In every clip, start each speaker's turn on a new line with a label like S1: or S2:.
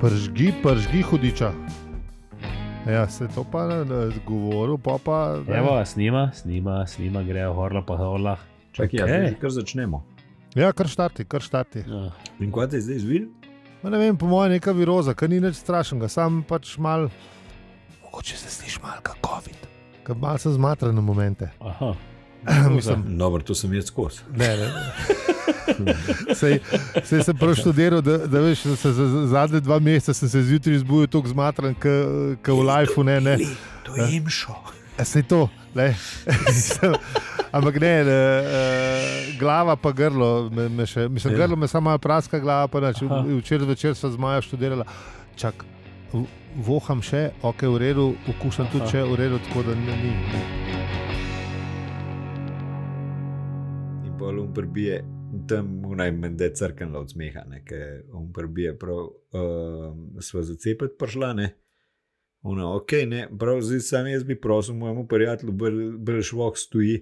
S1: Pržgi, pržgi hudiča. Ja, se to pa ne govoril, pa pa. ne.
S2: Evo, snima, snima, snima, grejo horla po horlah.
S3: Čakaj, okay. ja,
S2: Okej.
S3: zdaj že kar začnemo.
S1: Ja, kar štarti, kar štarti.
S2: Ja.
S3: In kaj te je zdaj zvil?
S1: Ma Ne vem, po mojem, neka viroza, ki ni nič strašnega, sam pač mal. Mogoče se sliši mal kot COVID. Ker mal sem zmatran na momente.
S2: Aha.
S1: Mislim,
S3: Dobro, to sem jaz skozi.
S1: ne, ne. Sej, sej sem preštudiral, da, da veš, da se za, za zadnje dva meseca sem se zjutraj zbudil tako zmatran, kot v lifeu, ne, ne.
S3: To je imšo.
S1: Se to, le. Ampak ne, ne glava pa grlo, me, me še, mislim,
S3: Ja.
S1: ja. grlo me samo malo praska glava, pa neč.
S2: Aha.
S1: Včeraj zvečer sem z Majo študirala, čak, v- voham še, ok, v redu, okušam tudi,
S2: Aha.
S1: če je v redu, tako da ne, ni.
S3: In pa on prbije, tam naj mende crkvenla od smeha, ker on prbije, prav um, sva zacepet prišla, ne. Ono, ok, ne, prav zdaj sam jaz bi prosil mojemu prijatelju, bršvok stoji,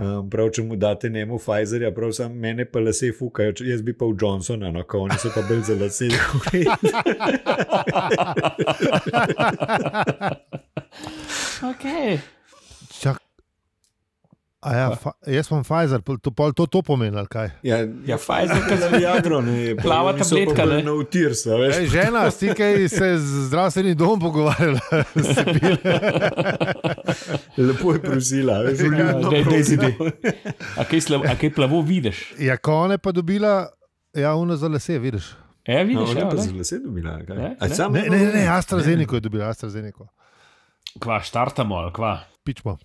S3: um, prav če mu date njemu Pfizerja, prav sam mene pa lase fukajo, če- jaz bi pa v Johnsona, no, ko oni so pa bolj za lase.
S2: Okay.
S1: Čak, a ja, fa, jaz imam Pfizer, pol- to, pol to, to pomeni, ali kaj?
S3: ja,
S2: Ja, Pfizer,
S3: Kaj za Viagro, ne? pa
S2: Plava
S3: oni so pa
S2: tabletka,
S3: bolj
S2: ne.
S3: Na utir, se veš.
S1: Ej, žena, stikaj se je z zdravstvenim domom pogovarjala. Se pil.
S3: Lepo je prosila, veš, vljudno
S2: Ja, daj, daj,
S3: prosila. No,
S2: a kaj, slab, a kaj plavo vidiš?
S1: ja, kone pa dobila, ja, uno za lase, vidiš.
S2: E,
S3: No,
S2: vidiš,
S3: ona
S2: no,
S3: pa
S2: ja,
S3: zelo se dobila. kaj?
S2: Ne,
S3: A
S2: ne.
S3: samo
S1: Ne,
S3: eno
S1: ne, ne,
S3: uro?
S1: ne AstraZeneca je dobila, AstraZeneca.
S2: kva, štartamo ali kva.
S1: Pičmo.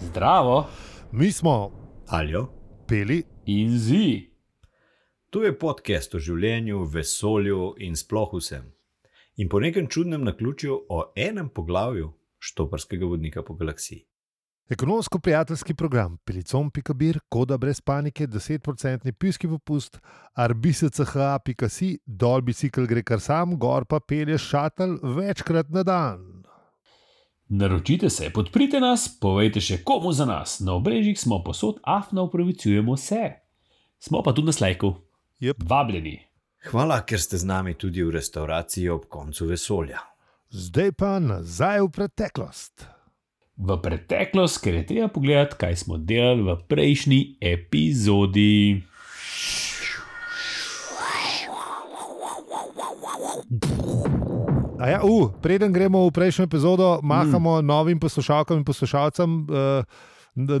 S2: Zdravo
S1: Mi smo
S3: Aljo.
S1: peli,
S2: in zi.
S3: To je podcast o življenju, vesolju in sploh vsem. In po nekem čudnem naključju o enem poglavju štoparskega vodnika po galaksiji.
S1: ekonomsko-prijateljski program pelicom.bir, koda brez panike, 10% pivski popust, arbiscah.si, dol bicikl gre kar sam, gor pa pelješ šatel večkrat na dan.
S2: Naročite se, podprite nas, povejte še komu za nas. Na obrežjih smo posod, afna upravičujemo se. Smo pa tudi na slajku.
S1: Jep.
S2: Vabljeni.
S3: Hvala, ker ste z nami tudi v restauraciji ob koncu vesolja.
S1: Zdaj pa nazaj v preteklost.
S2: v preteklost, ker je treba pogledati, kaj smo delali v prejšnji epizodi.
S1: A Ja, uh, preden gremo v prejšnjo epizodo, mahamo mm. novim poslušalkam in poslušalcem. Uh,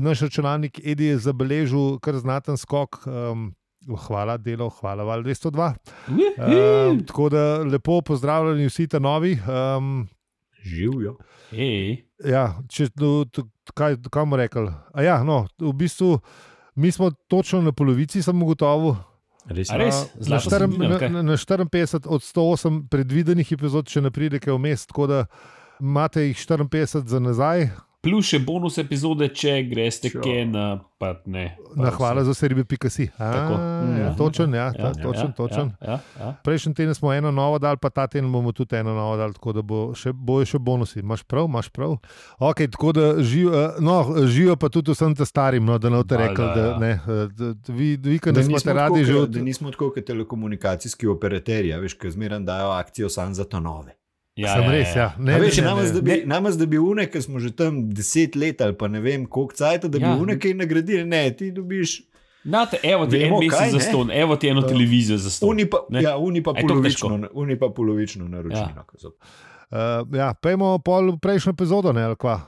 S1: naš računalnik Edi je zabeležil kar znaten skok. Um, Hvala, delo, hvala, val 202.
S2: Ehm,
S1: Um, tako da lepo pozdravljeni vsi ta novi. Um,
S3: Živijo.
S2: Ej,
S1: ja, če, no, t- kaj, kaj bomo rekli? A Ja, no, v bistvu mi smo točno na polovici, sem ugotovil.
S3: Res
S2: A res?
S1: A,
S2: Zlato
S1: Na,
S2: sredino,
S1: štirem- na,
S2: kaj?
S1: na, na 54 od 108 predvidenih epizod, če ne pride kaj vmes, tako da imate jih 54 za nazaj.
S2: plus še bonus epizode, če greste
S3: Sure.
S2: kje na patne.
S1: Na hvala za serbi, pika si.
S2: Tako.
S1: Ja,
S2: Mhm.
S1: točen, ja, ta, točen, točen.
S2: Ja, ja,
S1: Prejšnji teden smo eno novo dali, pa ta teden bomo tudi eno novo dali, tako da bo še, bojo še bonusi. Imaš prav, imaš prav. Okay, tako da živijo, eh, no, živijo pa tudi vsem te starim, no, da ne boste
S2: Valjda,
S1: rekli, da
S2: ja.
S1: ne. eh, da- da Vi, vi ki
S3: Da
S1: nas
S3: nismo,
S1: imate
S3: tako,
S1: radi, že
S3: ke-
S1: od
S3: da nismo tako kot telekomunikacijski operaterji, a veš, ki zmeraj dajo akcijo samo za to nove.
S2: ja,
S1: Sem res, ja. Ne,
S3: Ne,
S1: ne,
S3: veš,
S1: ne,
S3: namaz,
S1: ne.
S3: da bi, namaz, da bi une, ki smo že tam deset let ali pa ne vem koliko cajt, da bi
S2: Ja.
S3: ja. une kaj nagradili. Ne, ti dobiš.
S2: Nate, evo ti en
S3: Vemo, kaj,
S2: mesec za
S3: ne?
S2: ston, evo ti eno televizijo za ston.
S3: Uni pa,
S2: Ne.
S3: ja, uni pa
S2: A je to
S3: polovično, uni pa polovično naročnino. Ja.
S1: Uh, ja, pejmo pol v prejšnjo epizodo, ne ali kva.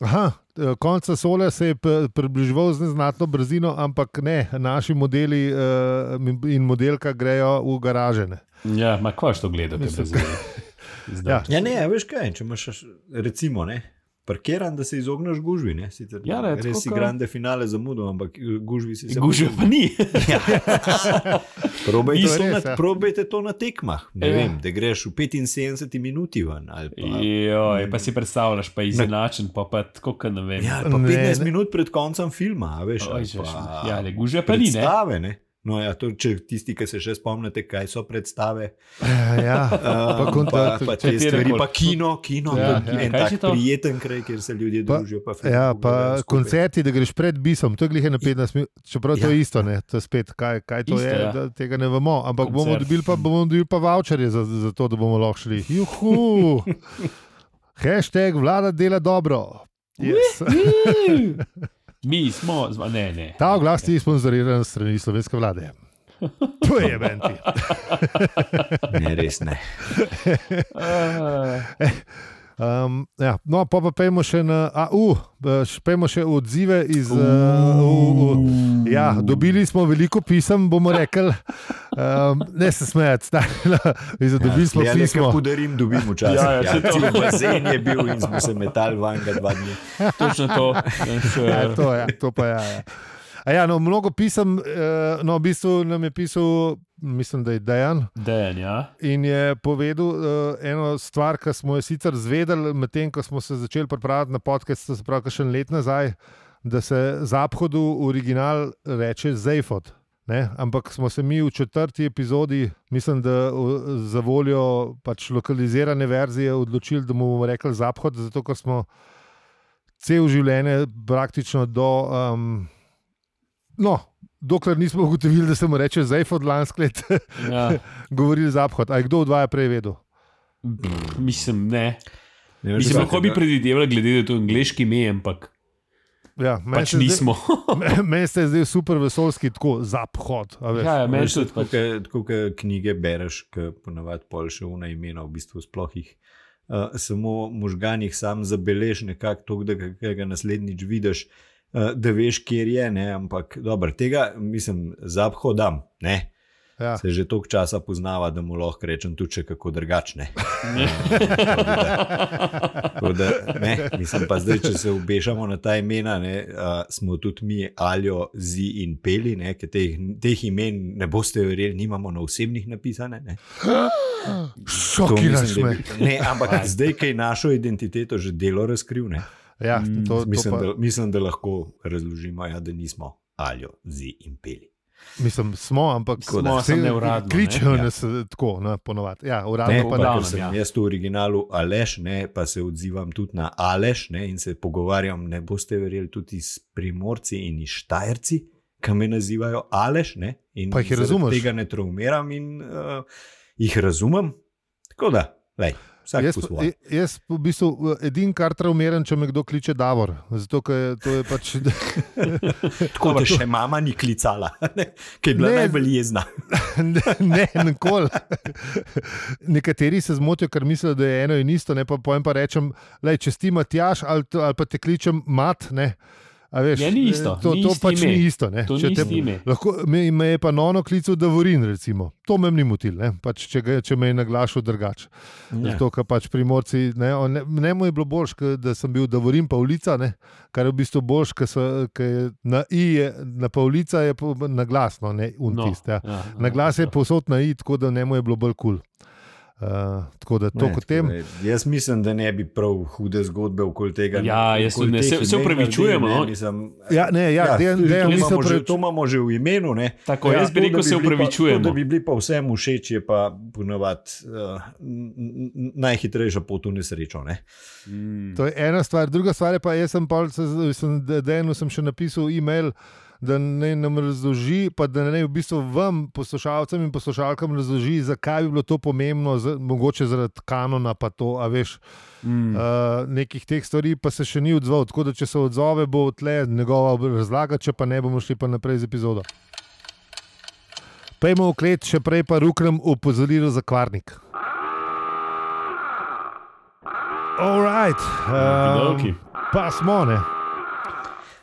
S1: Aha, eh, konec solja se je p- približeval z neznatno brzino, ampak ne, naši modeli uh, in modelka grejo v garažene.
S2: Ja, ma kva što gledal, kaj se zgodi.
S1: Ja.
S3: ja, ne, a veš kaj, če imaš, še- recimo, ne. Parkiran, da se izogneš gužvi. Ne? Sicer,
S2: Ja, ne, tako
S3: res si
S2: kot-
S3: grande finale zamudil, ampak eh, gužvi si se
S2: Gužve pa ni.
S3: Probajte
S1: Isto
S3: to,
S1: res,
S3: res,
S1: ja.
S3: na, probajte to na tekmah. Ne
S2: Ja.
S3: ja. vem, da greš v 75 minuti ven. Ali pa,
S2: Joj, pa si predstavljaš, pa izenačen, pa, pa tako, kot ne vem.
S3: ja, ali pa
S1: Ne,
S3: 15
S1: ne.
S3: ne. minut pred koncem filma. a Veš,
S2: Oj,
S3: ali
S2: že,
S3: pa,
S2: ja, le gužve pa ni, ne.
S3: predstave. Ne? No, ja, to, če tisti, ki se še spomnite, kaj so predstave, eh,
S1: Ja,
S3: pa,
S1: pa
S3: pa,
S1: kontakt.
S3: pa te stvari,
S2: Katerekoli.
S3: pa kino, kino
S1: Ja,
S3: ja,
S2: ja.
S3: en
S2: Kaj
S3: tak
S2: si to?
S3: prijeten kraj, kjer se ljudje
S1: Pa-
S3: družijo. Pa, film
S1: Ja,
S3: pogledajo
S1: pa
S3: skupaj.
S1: koncerti, da greš pred bisom, to je glih na 15 minut, čeprav to je isto, ne? to je spet, kaj, kaj to
S2: Isto,
S1: isto, je,
S2: ja.
S1: ja. da, tega ne vemo. Ampak Koncert. bomo
S2: Koncert.
S1: dobili pa, bomo dobili pa voucherje za, za to, da bomo lahko šli. Juhu! Hashtag vlada dela dobro. Yes.
S2: Mi smo, zva- ne, ne.
S1: Ta oglas je sponzoriran s strani slovenske vlade. To je menti.
S3: Ne, res ne.
S2: Uh,
S1: Um, ja. No, pa pa pojmo še na AU, pojmo še odzive iz. Uh, u, u. Ja, dobili smo veliko pisem, bomo rekli. Um, ne se smejati, stari. no.
S3: Ja,
S1: Dobili smo
S3: Slejle, ko
S1: pismo.
S3: podarim, dobim včasih.
S2: Ja, ja, saj to.
S3: cel bazen je bil in smo se metali vanj ga dva dni.
S2: Točno to. Danes, eh,
S1: Ja, to, ja, to pa ja. ja. A Ja, no, mnogo pisem, eh, no, v bistvu nam je pisal, mislim, da je Dejan.
S2: Dejan, ja.
S1: In je povedal uh, eno stvar, ki smo jo sicer zvedeli, medtem ko smo se začeli pripravljati na podcast, to se pravi, še en let nazaj, da se zahodu original reče Zajfot. Ne? Ampak smo se mi v četrti epizodi, mislim, da o, za voljo pač lokalizirane verzije odločili, da mu bomo rekli zahod, zato ker smo cel življenje praktično do. Um, no, dokler nismo ugotovili, da se mu reče Zajfot lansko leto
S2: ja.
S1: govorili za obhod. Ali kdo od vas je prej vedel?
S2: Pff, Mislim, ne.
S3: Ne vem,
S2: Mislim,
S3: zakaj
S2: lahko bi
S3: ga-
S2: predvidevali, glede na to angliški ime, ampak
S1: Ja, meni
S2: pač
S1: se zdaj-
S2: nismo.
S1: Meni se je zdaj super vesolski, tako za obhod.
S2: ja, ja, meni
S3: Veš,
S2: se
S3: Tako
S2: pač.
S3: ke- tako ke knjige bereš, ki ponavadi pol še vna imena, v bistvu sploh jih. Uh, samo možgan jih sam zabelež nekako, tako da ga- ga naslednjič vidiš, uh, da veš, kje je. Ne? Ampak dobro, tega mislim, zaphodam. Ne?
S1: Ja.
S3: Se že toliko časa poznava, da mu lahko rečem tudi še kako drugačne. Tako Da, ne, mislim pa zdaj, če se obešamo na ta imena, ne, a, smo tudi mi, Aljo, Zi in Peli, ne, ker teh, teh imen ne boste verjeli, nimamo na osebnih napisane. Ne. To
S1: Šokiraš
S3: mislim, da
S1: me.
S3: bi- ne, ampak zdaj, ki je našo identiteto že delo razkril, ne,
S1: Ja, to, to
S3: Mm, mislim,
S1: pa,
S3: da, mislim, da lahko razložimo, ja, da nismo Aljo, Zi in Peli.
S1: mislim, smo, ampak
S2: Smo, samo neuradno, ne?
S1: Kličejo
S3: Ja.
S1: nas eh, tako, na, ponovadi. Ja,
S3: Ne,
S1: uradno
S3: pa,
S1: pa
S2: v
S1: ne.
S2: glavnem,
S3: ker sem
S2: ja.
S3: ja. jaz v originalu Aleš, ne, pa se odzivam tudi na Aleš ne, in se pogovarjam, ne boste verjeli, tudi s primorci in iz Štajerci, ki me nazivajo Aleš. Ne, in
S1: Pa jih
S3: zaradi
S1: razumeš.
S3: Tega ne traumiram in uh, jih razumem. Tako da, lej, vsak
S1: Jaz,
S3: po svoje.
S1: j- jaz v bistvu edin kar traumeren, če me kdo kliče Davor. Zato, ker je- to je pač.
S3: Tako da še mama ni klicala, ne, ki je bila
S1: Ne,
S3: ne, najbolj jezna.
S1: ne, ne, nikoli. Nekateri se zmotijo, ker mislijo, da je eno in isto, ne pa pojem pa rečem, lej, če ti Matjaš ali, to- ali pa te kličem mat. Ne. a Veš,
S2: Ja, ni isto,
S1: To,
S2: ni
S1: to
S2: isto
S1: pač
S2: ime.
S1: ni isto. ne.
S2: To
S1: Če
S2: ni
S1: te-
S2: isto ime.
S1: Lahko, me, me je pa nono klical Davorin, recimo. to me ni motil, ne, pač, če, ga, če me je naglašal drugače.
S3: Ja.
S1: Zato, ker pač primorci, ne, on, ne, ne mu je bilo boljš, ke da sem bil Davorin Pavlica, ne, kar je v bistvu boljš, ker so- ker je na I, je, na Pavlica je pa na glasno, ne untist. No. Ja.
S2: ja,
S1: Na glas je povsod na i, tako da ne mu je bilo bolj kul. Cool. Uh, tako da to
S3: Ne,
S1: kot
S3: tako
S1: tem.
S3: da je- Jaz mislim, da ne bi prav hude zgodbe okoli tega.
S2: Ja, jaz
S3: okoli
S2: tudi ne.
S3: teh
S2: Se- se
S3: imen
S2: opravičujem,
S3: naredili,
S2: no.
S3: ne, mislim,
S1: Ja, ne, ja, Dejan-
S3: tudi
S1: Dejan,
S3: to
S1: mi se
S3: imamo že-
S1: opravič-
S3: To imamo že v imenu. Ne? Ja,
S2: Tako, jaz bi
S3: to,
S2: rekel,
S3: da
S2: se
S3: bili pa-
S2: upravičujemo.
S3: To, da bi bili pa vsem všeč, je pa ponavadi uh, najhitrejša pot v nesrečo. Ne?
S2: Mm.
S1: To je ena stvar, druga stvar je pa, jaz sem pol, sem, Denu sem še napisal e-mail, da naj nam razloži, pa da naj v bistvu vam, poslušalcem in poslušalkam, razloži, zakaj bi bilo to pomembno, z, mogoče zaradi kanona, pa to, a veš, uh,
S2: Mm.
S1: nekih teh stvari, pa se še ni odzval. Tako da, če se odzove, bo tle njegova razlaga, če pa ne bomo šli pa naprej z epizodo. Pejmo v klet, še prej pa ruknem opozorilo za kvarnik. Alright,
S2: Okidoki.
S1: um, pa smo ne.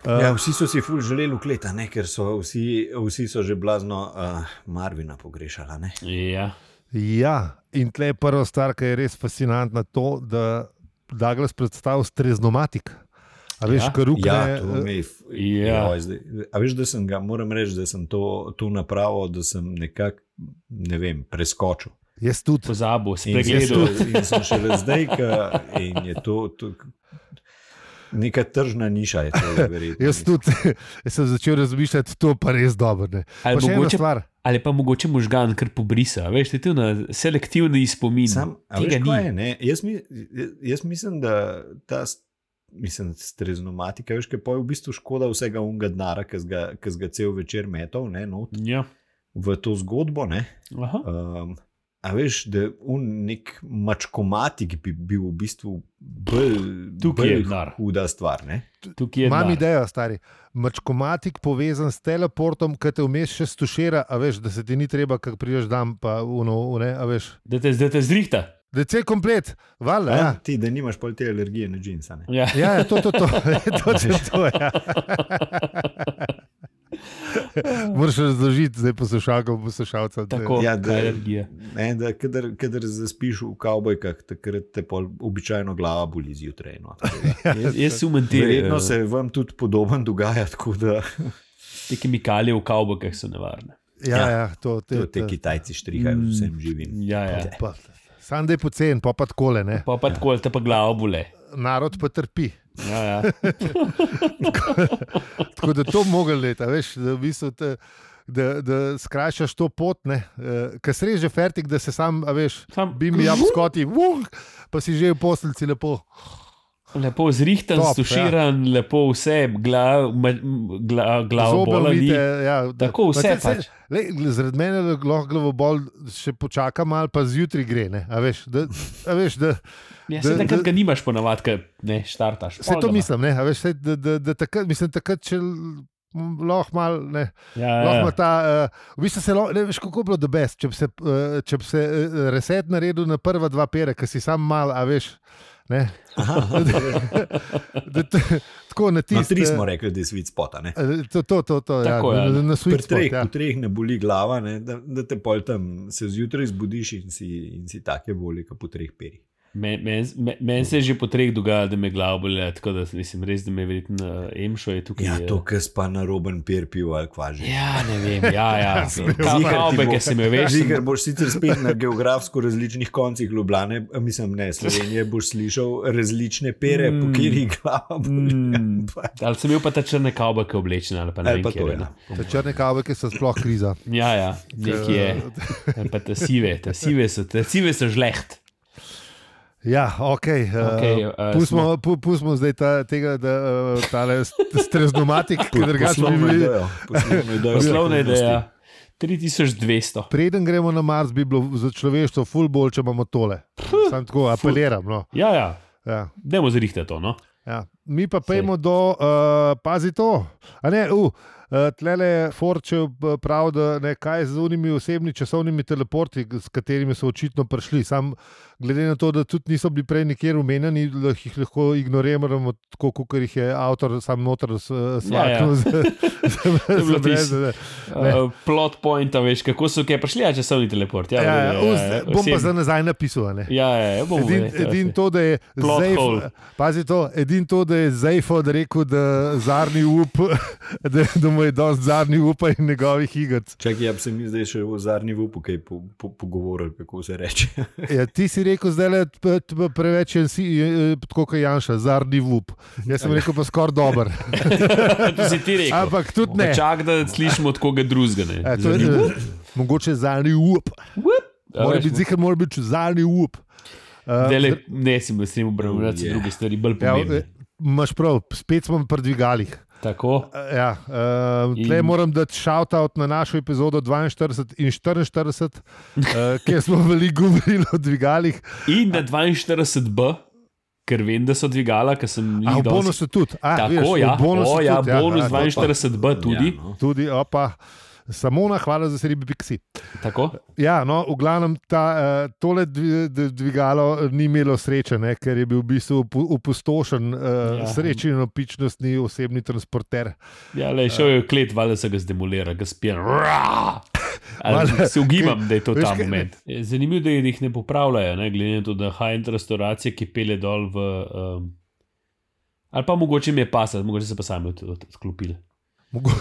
S1: Eh.
S3: Ja, vsi so si ful želeli ukleta, ne? ker so vsi, vsi so že blazno uh, Marvina pogrešali. ne.
S2: Ja.
S1: Ja, in tle je prva stvar, ki je res fascinantna, to, da Douglas predstavlja streznomatik. A veš,
S2: Ja.
S1: ja, kar rukne.
S3: Ja, to me je. f-
S2: Ja.
S3: joj, zdaj- A veš, da sem ga, moram reči, da sem to, to napravo, da sem nekako, ne vem, preskočil.
S1: jaz tudi.
S2: Pozabil,
S3: In jaz
S2: spregledal.
S3: sem- In sem šele zdaj, ki je to. to Neka tržna niša je to, verjetno.
S1: Jaz tudi jaz sem začel razmišljati, to pa res dobro. ne. Pa
S2: Ali,
S1: še ena
S2: mogoče,
S1: stvar.
S2: ali pa mogoče možgan kar pobrisa, veš, ti tu na selektivni spomin.
S3: Sam, a
S2: Tega
S3: veš, kaj
S2: ni.
S3: je, ne? jaz, mi, jaz mislim, da ta s- mislim, streznomatika, veš, kaj pa je v bistvu škoda vsega unga denara, ki si ga cel večer metal ne, not,
S2: Ja.
S3: v to zgodbo. Ne?
S2: Aha.
S3: Um, a veš, da un nek mačkomatik bi bil v bistvu bolj,
S2: Tukaj je
S3: bolj
S2: denar.
S3: huda stvar. Ne?
S2: Tukaj je
S1: Imam
S2: denar.
S1: idejo, stari. Mačkomatik povezan s teleportom, ki te vmes še stušira, a veš, da se ti ni treba, kak priješ dan, pa uno, ne, a veš.
S2: Da te, da te zrihta.
S1: Da je cel komplet, valjda.
S3: Ja.
S1: Ja.
S3: Ti, da nimaš pol te alergije na džinsane.
S2: Ja.
S1: Ja, ja, to je to, to. točno to. Ja. Moraš razložiti, zdaj poslušalkam, poslušalcem. da-
S2: Tako.
S3: Ja,
S2: kaj je alergija?
S3: ne, da kadar, kadar zaspiš v kavbojkah, takrat te pol običajno glava boli zjutraj. No, tako da.
S2: Jaz, jaz sumem te,
S3: Verjetno
S2: eh,
S3: se vam tudi podoben dogaja, tako da
S2: te kemikalije v kavbojkah so nevarne.
S1: Ja, ja, to te, Mm,
S3: tudi te Kitajci štrihajo z vsem živim.
S2: Ja, ja.
S1: Pa, sam da je pocen, pa pa takole, ne.
S2: Pa pa tako, ali te pa glava bole.
S1: narod pa trpi.
S2: Ja, ja.
S1: Tako da to mogel leta, veš, da, v bistvu te, da, da skrajšaš to pot, ne, eh, ker sreš že fertik, da se sam, a veš,
S2: Sam
S1: bi mi jab skoti, uh, pa si že v postelci lepo.
S2: Lepo zrihtan,
S1: Top,
S2: stuširan, ja. lepo vse, glava gla, gla,
S1: Zobe
S2: bola ni.
S1: umite, ja, da-
S2: Tako,
S1: pa
S2: vse
S1: saj- saj-
S2: pač.
S1: Lej, gl- Zaradi mene lahko glavobol še počaka malo, pa zjutraj gre. Ne? A veš, da, a veš, da,
S2: Ja, se
S1: Da-
S2: takrat
S1: da-
S2: ga nimaš ponavadi, ko ne štartaš.
S1: vse
S2: Pol
S1: to
S2: ga imaš.
S1: mislim, ne? a veš, saj, da, da, da takrat, mislim, takrat, če l- m, lahko malo, ne,
S2: Ja,
S1: lahko ima
S2: ja.
S1: ta, uh, v bistvu se lahko, ne veš, kako je bilo debes, če bi se, uh, če bi se uh, reset naredil na prva dva pera, ki si sam mal, a veš, ne, da, t, tako na
S3: Na
S1: tisti.
S3: No, tri smo rekli, da je svet spota. Ne?
S1: eh, To, to, to, to
S2: Tako,
S1: ja,
S2: ja.
S1: na, na
S3: Pri
S1: sweet spot,
S3: treh,
S1: ja.
S3: v treh ne boli glava, ne? Da, da te pol tam se zjutraj zbudiš in si, in si take boli, kot po treh perih.
S2: Meni men, men meni se že po treh dogaja, da me glava boli, tako da mislim, res, da me verjetno eh, emšo je tukaj.
S3: Ja,
S2: eh,
S3: to, kar spa na roben per pivo ali kvaži.
S2: Ja, ne vem, ja, ja.
S1: Zihar ti
S2: Kao-
S1: bo-
S2: Kavbojke sem jo veš.
S3: Ker boš sicer spet na geografsko različnih koncih Ljubljane, mislim, ne Slovenije, boš slišal različne pere, mm. po
S2: Mm.
S3: katerih glava boli.
S2: Mm, ali sem imel pa ta črne kavbojke oblečene ali pa ne
S3: Ali
S2: vem,
S3: pa
S2: kje
S3: to je.
S2: je.
S3: Ja.
S1: Te črne kavbojke so sploh kriza.
S2: Ja, ja, nekje. Ali pa te sive, te sive so, te sive so žleht.
S1: Ja, ok.
S2: Okej,
S1: okay
S2: eh,
S1: uh, pustimo, pu, pustimo zdaj ta, tega, da uh, ta streznomatik, ki drugače bi
S3: Poslovno
S1: bili.
S3: idejo. Poslovno idejo.
S2: Poslovna ideja. 3200.
S1: Preden gremo na Mars, bi bilo za človeštvo ful bolj, če imamo tole. Sam tako apeliram. No.
S2: Ja, ja,
S1: Ja,
S2: dajmo zrihte to. No?
S1: ja. Mi pa pojmo do, uh, pazi to. A Ne, uh, Tlele Forčev pravi, da ne kaj z unimi osebnimi časovnimi teleporti, s katerimi so očitno prišli. Sam glede na to, da tudi niso bili prej nikjer omenjeni, da jih lahko ignoriramo, tako kot jih je avtor sam noter eh,
S2: ja.
S1: svakal.
S2: je bilo tis.
S1: Zabrez.
S2: Uh, plot point, a veš, kako so kaj prišli, a časovni teleport. Ja,
S1: Ja, ja,
S2: dobro,
S1: uz- Bom pa
S2: osebni.
S1: za nazaj napisal. a ne.
S2: Ja, ja, ja bomo
S1: Edin,
S2: videli,
S1: edin to, da je
S2: Plot
S1: Zajf-
S2: hole.
S1: pazi to, edin to, da je Zajfo rekel, da zadnji up, da, da mu je dosti zadnji upa in njegovih igr.
S3: Čakaj, ja bi se mi zdaj še v zadnji vupu kaj po, po, pogovorili, kako se reče.
S1: Ja, ti si rekel, da je preveč en si, eh, tako kot Janša, zadnji up. Jaz sem rekel, pa skoraj dober.
S2: Ja, to si ti rekel.
S1: Ampak tudi ne.
S2: Čak, da slišimo od koga drugega. ne.
S1: E, to je,
S2: Zanimivo.
S1: eh, mogoče zadnji up.
S2: Wup. A
S1: Mora
S2: Ja, veš,
S1: biti zihar, mora biti zadnji up. Eh,
S2: Dele, ne, si s tem obravnaval
S3: Oh, yeah.
S2: druge stvari, bolj
S1: ja,
S2: pomembne.
S1: eh, Imaš prav, spet smo pri dvigalih.
S2: Tako,
S1: Ja, uh,
S2: In-
S1: tle moram dati šoutout na našo epizodo 42 in 44, uh, kjer smo veliko govorili o dvigalih.
S2: in na 42B, ker vem, da so dvigala, ker sem
S1: A
S2: jih
S1: v
S2: dosti-
S1: bonusu tudi. A,
S2: Tako,
S1: veš, v
S2: ja,
S1: bonusu
S2: o,
S1: tudi,
S2: ja, bonus
S1: a,
S2: 42B tudi.
S3: Ja, no.
S1: Tudi, opa, samo na hvala za seribi Pixi.
S2: Tako?
S1: Ja, no, v glavnem ta, eh, tole dvi- d- dvigalo eh, ni imelo sreče, ne, ker je bil v bistvu opu- opustošen, ja.
S2: Ja.
S1: srečen in opičnostni osebni transporter.
S2: Ja, le, šel je v klet, valjda se ga zdemolira, ga spijem.
S1: Valjda,
S2: Se ugibam, da je to
S1: veš
S2: ta
S1: kaj-
S2: moment. Je Zanimivo je, da jih ne popravljajo, ne? glede na to, da high-end restauracije, ki pele dol v. Um, ali pa mogoče mi je pasal, mogoče se pa sami od, od, odklopili.
S1: Mogo,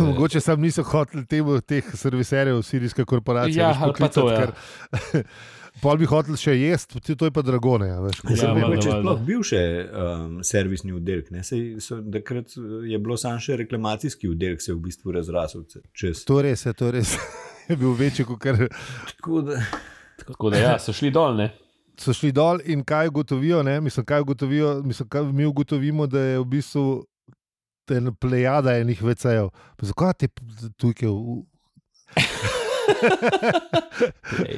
S1: mogoče sam niso hoteli temu, teh serviserjev, sirijske korporacije,
S2: Ja,
S1: več
S2: ali pa to, ja.
S1: ker pol bi hoteli še jesti, tudi to je pa dragone. Ja, veš,
S2: Ja,
S3: Ja,
S1: ja,
S2: valjda,
S3: mogoče
S2: valjda.
S3: sploh bil še um, servisni oddelek. ne, saj so- Takrat uh, je bilo samo še reklamacijski oddelek, se je v bistvu razrasel ce- čez.
S1: to res je, to res je bil večji, kot kar
S3: Tako da
S2: Tako da ja, so šli dol, ne?
S1: so šli dol in kaj ugotovijo. ne, Mislim, kaj ugotovijo mislim, kaj mi ugotovimo, da je v bistvu ten plejada enih vecejev. Pa Zakaj te tujke? v-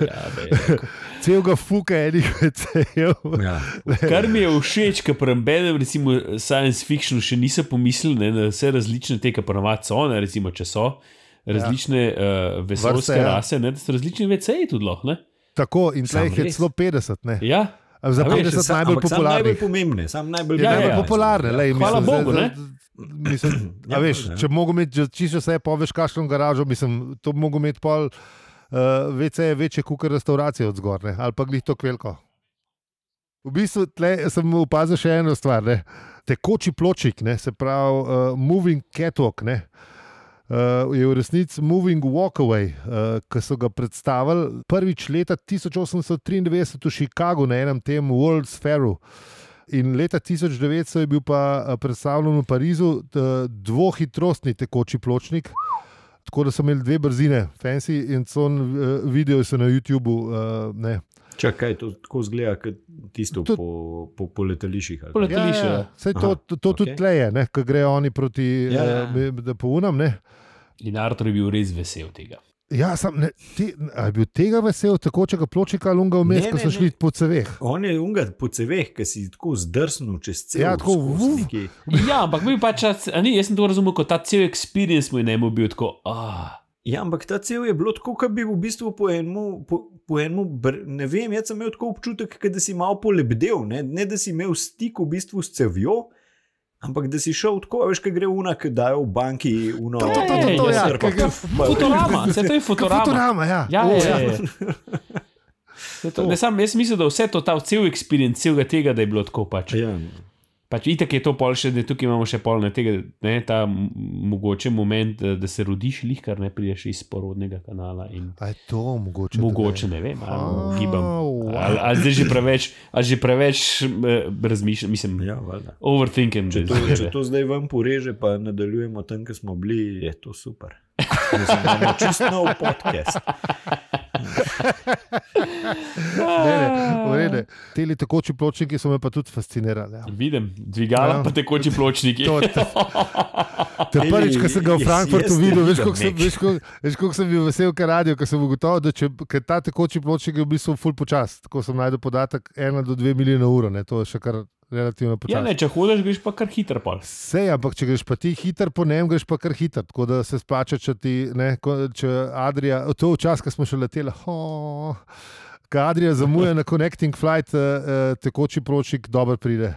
S2: Ja, bej.
S1: Celega fuka enih vecejev.
S3: ja.
S2: Kar mi je všeč, ker pri Benem, recimo science fiction, še niso pomislili ne, na vse različne te, kar ponovadi so, ne, recimo, če so. Različne ja. uh, vesoljske
S1: Vrste,
S2: Vrste,
S1: ja.
S2: rase, ne, da so različni VC-ji tudi lahko. ne.
S1: Tako in tleh
S2: Sam
S1: je
S2: res.
S1: celo 50. Ne?
S2: Ja,
S1: A Za
S2: A veš,
S1: 50
S3: Sam-
S1: najbolj
S3: ampak samo Najbolj
S1: popularnih.
S3: pomembne, sam najbolj,
S1: Je
S2: Ja,
S1: ja,
S2: ja,
S1: najbolj
S2: ja.
S1: ja, popularne, lej, mislim,
S2: Hvala
S1: zdaj-
S2: Bogu, ne?
S1: zdaj- Mislim,
S3: Ja,
S1: ja, veš,
S3: ja.
S1: če mogo imeti že čisto vse, poveš, kakšno garažo, mislim, to mogo imeti pol, uh, vece je večje kuka restauracije od zgorne, ali pa glih to kvelko. V bistvu tle, sem opazil še eno stvar, ne? tekoči pločik, ne? se pravi uh, moving catwalk. Ne? Uh, je v resnici Moving Walkaway, uh, ki so ga predstavili prvič leta 1893 v Chicagu na enem tem World's Fairu. In leta 1900 je bil pa eh, predstavljen v Parizu t- dvohitrostni tekoči pločnik. Tako da so imeli dve brzine, fancy in con eh, video so na YouTubu. eh, ne.
S3: Čakaj, to tako zgleda, kot tisto
S1: To-
S3: po, po, po letališčih. ali
S2: Po
S3: kaj?
S2: let- Letališče, ja.
S1: Saj to,
S3: Aha,
S1: to, to
S3: ok.
S1: okay. tudi tle je, ne, ko grejo oni proti ja,
S3: Ja, ja.
S1: ja. Eh, Pounam.
S2: in Artur je bil res vesel tega.
S1: Ja, sam ne, te, a je bil tega vesel, tekočega pločika, lunga vmes,
S3: Ne,
S1: ko
S3: ne,
S1: so
S3: ne.
S1: šli po ceveh.
S3: On je unga po ceveh, ki si tako zdrsnil čez cel
S1: Ja, tako,
S3: skozi
S1: vuf.
S3: neki-
S2: Ja, ampak mi pač, a ni, jaz sem to razumel kot ta cel experience, moj najmo bil tako. Ah,
S3: Ja, ampak ta cel je bilo tako, kot bi v bistvu po enem, po, po enem br... ne vem, jaz sem imel tako občutek, ke da si malo polebdel, ne? ne da si imel stik v bistvu s cevjo. Ampak da si šel tako, a veš, kaj gre unak, da je v banki uno.
S1: To, to,
S2: to, to, to, ja,
S3: srpa.
S1: kaj gre-
S3: Pa-
S2: Futurama, se to je Futurama.
S1: Fotorama, ja.
S2: Ja,
S1: O,
S2: ja, ja, ja. Saj To, ne, sam, jaz mislim, da vse to, ta cel experience, celega tega, da je bilo tako pač.
S3: Ja,
S2: Pač itek je to pol še, da tukaj imamo še pol ne tega, ne, ta m- mogoče moment, da, da se rodiš lihkar, ne prideš iz porodnega kanala in
S1: A je to mogoče?
S2: mogoče, ne vem, ali gibam.
S1: A, wow.
S2: Ali, ali zdaj že preveč, ali že preveč eh, razmišljam, mislim,
S3: ja, valjda.
S2: overthinking. te
S3: Če to, če
S2: zadeve.
S3: to zdaj vam poreže, pa nadaljujemo tam, kjer smo bili, je to super. Mislim, da imamo Čisto nov podcast.
S1: Ne, ne, v redu. Te tekoči pločniki so me pa tudi fascinirali. Ja.
S2: Vidim, dvigala,
S1: Ja.
S2: pa tekoči pločniki.
S1: To, to, to
S3: Eli,
S1: prvič, ko sem ga v
S3: jaz-
S1: Frankfurtu
S3: jaz
S1: videl, veš,
S3: ne
S1: koliko sem,
S3: vidim,
S1: veš, koliko, veš, koliko sem bil vesel, ker radio, ker sem ugotovil, da če, ker ta tekoči pločnik je v bistvu full počas. Tako sem najdel podatek 1 do 2 milijona ur, ne, to je še kar relativno
S2: Ja,
S1: počasno.
S2: ne, če hodiš, greš pa kar hitro. Pol.
S1: Sej, ampak če greš pa ti hiter, po njem greš pa kar hiter. Tako da se splača, če ti, ne, ko- če Adrija, to včasih, ko smo še leteli, ho, ko Adrija zamuja na connecting flight, eh, eh, tekoči pločnik dobro pride.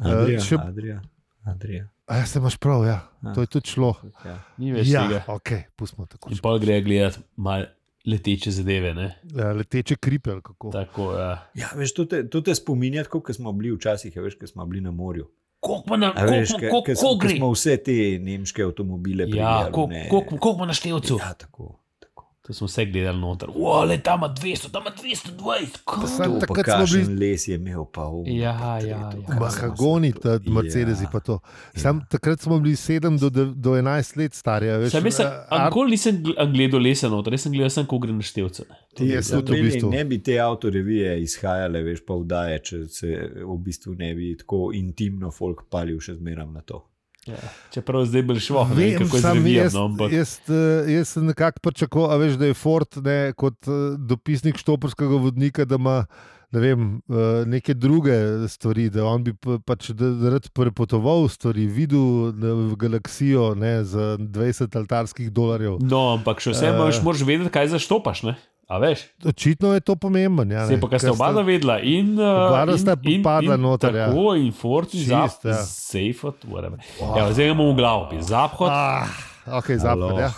S3: Adrija,
S1: če-
S3: Adrija, Adrija.
S1: A ja, se imaš prav, ja.
S3: Ja.
S1: to je tudi šlo.
S3: Ja.
S2: Ni več
S1: Ja,
S2: tega.
S1: ok, pustimo tako.
S2: In pol gre gledati malo leteče zadeve. Ne?
S1: Ja, leteče kripe ali kako.
S2: Tako, ja.
S3: Ja, veš, to te, to te spominja, kot smo bili včasih, ja, veš, ko smo bili na morju.
S2: Koliko pa na
S3: A veš, ko- ko- ko
S2: koliko gre?
S3: smo vse te nemške avtomobile
S2: Ja,
S3: primerjali, ne.
S2: koliko pa na števcu?
S3: Ja, tako. tako.
S2: To smo vse gledali noter. Ule, tam ima 200, tam ima 220. kako?
S1: Sam
S3: To, pa
S1: takrat smo
S3: kakšen
S1: bili-
S3: les je imel, pa um,
S2: Ja,
S3: pa
S2: ja,
S3: treto,
S2: ja.
S3: kaj smo
S1: Mahagoni,
S3: se
S1: ta
S3: to-
S1: Mercedesi
S3: ja.
S1: pa to. Sam takrat smo bili 7 do, dev- do 11 let stari. a Veš,
S2: Sam jaz sem,
S1: eh, Ar-
S2: nikoli nisem gl- gledal lesa noter, jaz sem gledal samo, ko gre na števce.
S1: Ti jaz
S3: Ja, Za
S1: tudi v
S3: mene
S1: bistvu.
S3: Ne bi te avtorevije izhajale, veš, pa vdaje, če se v bistvu ne bi tako intimno folk palil še zmeram na to.
S2: Ja. Čeprav zdaj bolj šlo, ne vem,
S1: Vem,
S2: kako je
S1: samo
S2: zdaj
S1: jaz,
S2: no, ampak
S1: jaz, eh, jaz sem nekako pričakoval, a veš, da je Ford ne, kot eh, dopisnik štoprskega vodnika, da ima ne vem, eh, neke druge stvari, da on bi pa- pač da- da rad prepotoval stvari, videl ne, galaksijo ne, za 20 altarskih dolarjev.
S2: No, ampak še
S1: Eh.
S2: vse imaš, moraš vedeti, kaj zaštopaš, ne? A veš?
S1: Očitno je to pomembno. Ja,
S2: Zdaj pa, kar sta
S1: Ker
S2: oba
S1: sta-
S2: dva vedla, in
S1: Oba sta padla noter, ja.
S2: Tako ja. in Forti za
S1: Čist, ja.
S2: safe, whatever. Ja, zdaj imamo v glavu, zapad,
S1: Ah, ok, zapad. Ja.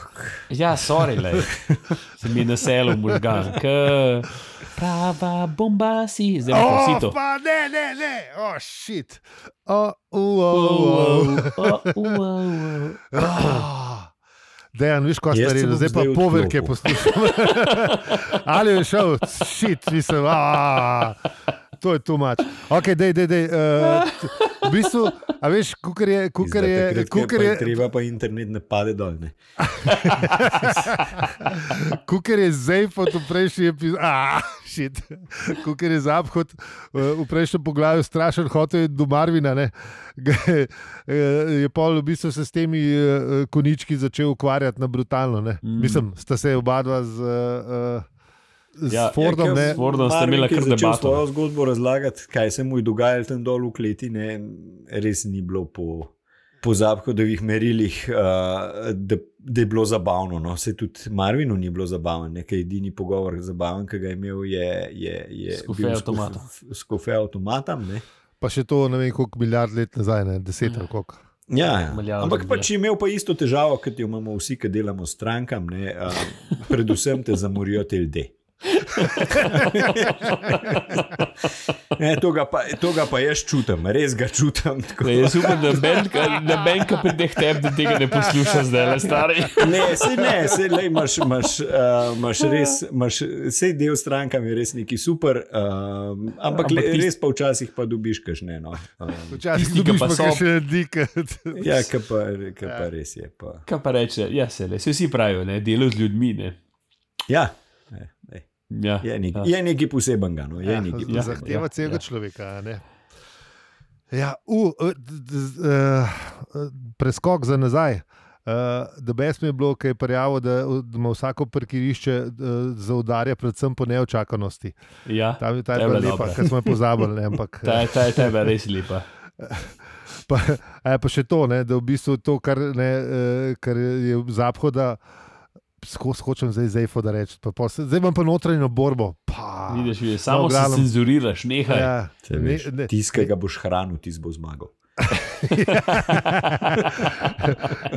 S2: Ja, sorry, le. Se mi je naselil možgan. K... Prava bomba si, zdaj pa vsi to.
S1: Oh, pa ne, ne, ne, oh, shit. Oh, uh, uh, uh. Ah, Dejan, viš, kaj
S3: Jaz
S1: ste
S3: se
S1: rekli,
S3: bom
S1: zdaj pa
S3: zdaj
S1: poverke
S3: odklopil.
S1: poslušam. Ali je šel, šit, mislim, aaa, to je tumač. Ok, dej, dej, dej. Uh, v bistvu, a veš, kukar je, kukar je, kukar je,
S3: Treba pa internet ne pade dol. Ne?
S1: Kukar je zdaj pod v prejšnji epizodi, ah, šit. Kukar je zaphod eh, v prejšnjem poglavju strašen, hotel je do Marvina. Ne. Ga Je, eh, je pol v bistvu se s temi eh, konički začel ukvarjati na brutalno. Ne.
S2: Mm.
S1: Mislim, sta se oba dva z, eh, z
S2: Ja, ja,
S1: ja, Fordom.
S3: ker
S1: ne.
S2: s Fordom sta
S3: Marvin,
S2: imela
S3: ki je
S2: kar
S3: začel
S2: debato.
S3: Svojo zgodbo razlagati, kaj se mu je dogajalo tam dol v kleti, ne, res ni bilo po, po zahodovih merilih, uh, da, da je bilo zabavno. No. Se tudi Marvinu ni bilo zabavno, nekaj edini pogovor zabaven, ki ga je imel, je, je, je
S2: S kofe avtomata.
S3: Skofe avtomatom. Ne.
S1: Pa še to ne vem, koliko milijard let nazaj, ne, deset ali koliko.
S3: Ja, ja.
S2: Milijarde
S3: ampak
S2: bile.
S3: pač je imel pa isto težavo, kot jo imamo vsi, ki delamo strankam, ne, um, predvsem te zamorijo te ljudi. ne, to, ga pa, to ga pa jaz čutim, res ga čutim. tako.
S2: Ne, jaz upam, da benka, da benka pri teh tebi, da tega ne posluša zdaj, le stari.
S3: Ne, se ne, se le imaš, imaš, uh, imaš
S2: Ja.
S3: res, imaš, vse del strankam je res neki super, um, ampak,
S2: Ampak
S3: ampak le,
S2: tisti-
S3: res pa včasih pa dobiš kašne. No. Um,
S1: Včasih
S2: Tisti, ki
S1: dobiš
S2: pa
S1: pa
S2: so-
S1: še dikat.
S3: ja, kar pa, kar pa res je. Pa.
S2: Kaj pa reče, ja, se le, se vsi pravijo, ne, delo z ljudmi, ne.
S3: Ja, ne, ne.
S2: Ja,
S3: Je, nek,
S2: ja.
S3: je nekaj posebenega. No, je ja, nekaj
S1: ja,
S2: ja,
S3: posebnega.
S1: zahteva ja,
S2: ja,
S1: celega ja.
S2: ja.
S1: človeka. a Ne? Ja, u, uh, uh, preskok za nazaj. Uh, da brez me je bilo, ki je prijavil, da, da ima vsako parkirišče uh, zaudarja, predvsem po neočakanosti.
S2: ja.
S1: Ta, ta
S2: Ta
S1: je
S2: je
S1: bila
S2: bila
S1: lepa,
S2: dobra.
S1: ker smo jo pozabili. Ne, ampak,
S2: Ta, je- ta, je- ta je bila res lepa.
S1: Pa, a, pa še to, ne, da v bistvu to, kar, ne, eh, kar je zahoda, skočim zdaj zefo, da rečem. Pa pol se- Zdaj imam pa notranjo borbo. Pa,
S2: Vidiš, vidiš, samo
S1: No,
S2: no,
S1: v
S2: se
S1: glavnem.
S2: cenzuriraš, nehaj. Ja.
S1: ja,
S3: Saj veš, Tisti, ki ga boš hranil, ti bo zmagal.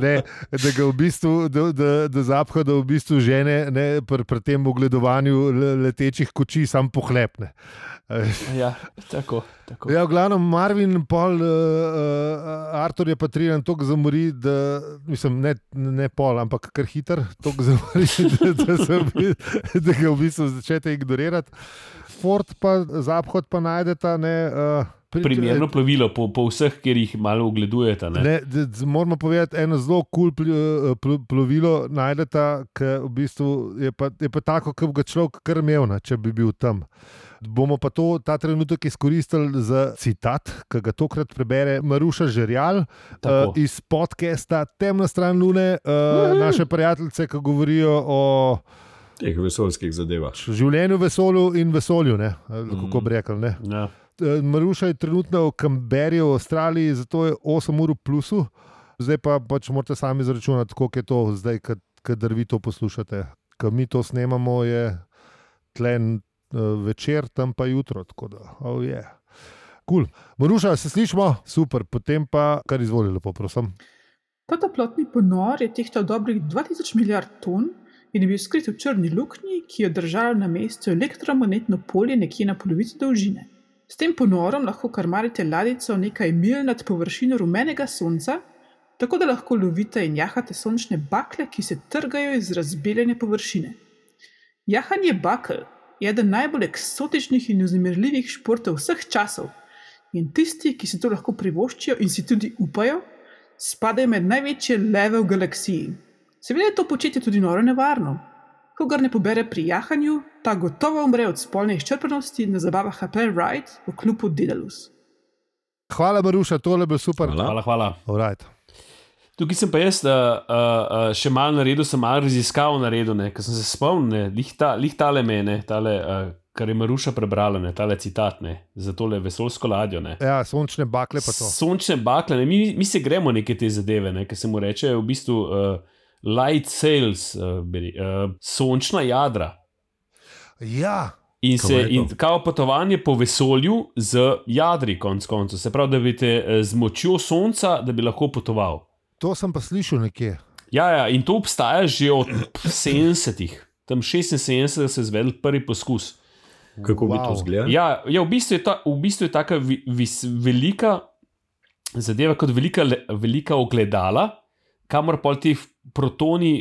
S1: ne, da ga v bistvu, da, da, da zapha, da v bistvu žene ne, pri, pri tem ogledovanju le- letečih koči sam pohlepne.
S2: ja, tako. tako. Ja.
S1: Ja, v glavnem Marvin, pol, uh, uh, Artur je pa triran, tako zamori, da, mislim, ne, ne pol, ampak kar hiter, tako zamori, da, da, se, v bi- da ga v bistvu začnete ignorirati. Ford pa zaphod pa najdete. Ne, uh, pri-
S2: Primerno plovilo po, po vseh, kjer jih malo ogledujete. Ne?
S1: Ne, d- d- moramo povedati, eno zelo kul cool plovilo najdete, ki v bistvu je pa, je pa tako, kot bi ga človek kar imel, ne, če bi bil tam. Bomo pa to, ta trenutek izkoristili za citat, ki ga tokrat prebere Maruša Žerjal uh,
S2: Tako.
S1: iz podcasta Temna stran Lune, uh, naše prijateljice, ki govorijo o
S3: Teh vesoljskih zadevah.
S1: življenju, vesolju in vesolju, ne, ali kako bi rekel. Ne.
S2: Ja.
S1: Eh, Maruša je trenutno v Kamberju, v Avstraliji, zato je 8 ur v plusu, zdaj pa pač morate sami izračunati, koliko je to zdaj, kader vi to poslušate. Ko mi to snemamo, je tlen eh, večer, tam pa jutro, tako da oh, je. Yeah. Kul. Cool. Maruša, se slišmo, super, potem pa kar izvoli, lepo, prosim.
S4: Ta toplotni ponor je tehtal dobrih 2000 milijard ton in je bil skrit v črni luknji, ki jo je držalo na mestu elektromagnetno polje nekje na polovici dolžine. S tem ponorom lahko karmarite ladjico nekaj milj nad površino rumenega sonca, tako da lahko lovite in jahate sončne bakle, ki se trgajo iz razbeljene površine. Jahanje bakel je eden najbolj eksotičnih in vznemirljivih športov vseh časov, in tisti, ki si to lahko privoščijo in si tudi upajo, spadajo med največje leve v galaksiji. Seveda je to početje tudi noro nevarno. Kogar ne pobere pri jahanju, ta gotovo umre od spolne izčrpanosti na zabavah Apple Ride v klubu Dedalus.
S1: Hvala, Maruša, tole bo super.
S2: Hvala, hvala.
S1: Alright.
S2: Tukaj sem pa jaz uh, uh, uh, še malo naredil, sem malo raziskav naredil, ker sem se spomnil, lih ta- lih tale mene, tale, uh, kar je Maruša prebrala, ne, tale citat ne, za tole vesolsko ladjo. Ne.
S1: Ja, sončne bakle pa to.
S2: Sončne bakle, ne, mi, mi se gremo neke te zadeve, ne, ki se mu reče v bistvu uh, light sails, uh, beri, uh, sončna jadra.
S1: Ja,
S2: In,
S3: Kako je
S2: se,
S3: to?
S2: in kao potovanje po vesolju z jadri, konc koncev. Se pravi, da bi te eh, z močjo sonca, da bi lahko potoval.
S1: to sem pa slišal nekje.
S2: Ja, ja, in to obstaja že od 70-ih. Tam 76 se je zvedel prvi poskus.
S3: Kako wow. bi to izgledalo?
S2: Ja, ja, v bistvu je ta, v bistvu je taka vi, vis, velika zadeva kot velika, le- velika ogledala, kamor pol ti f- protoni,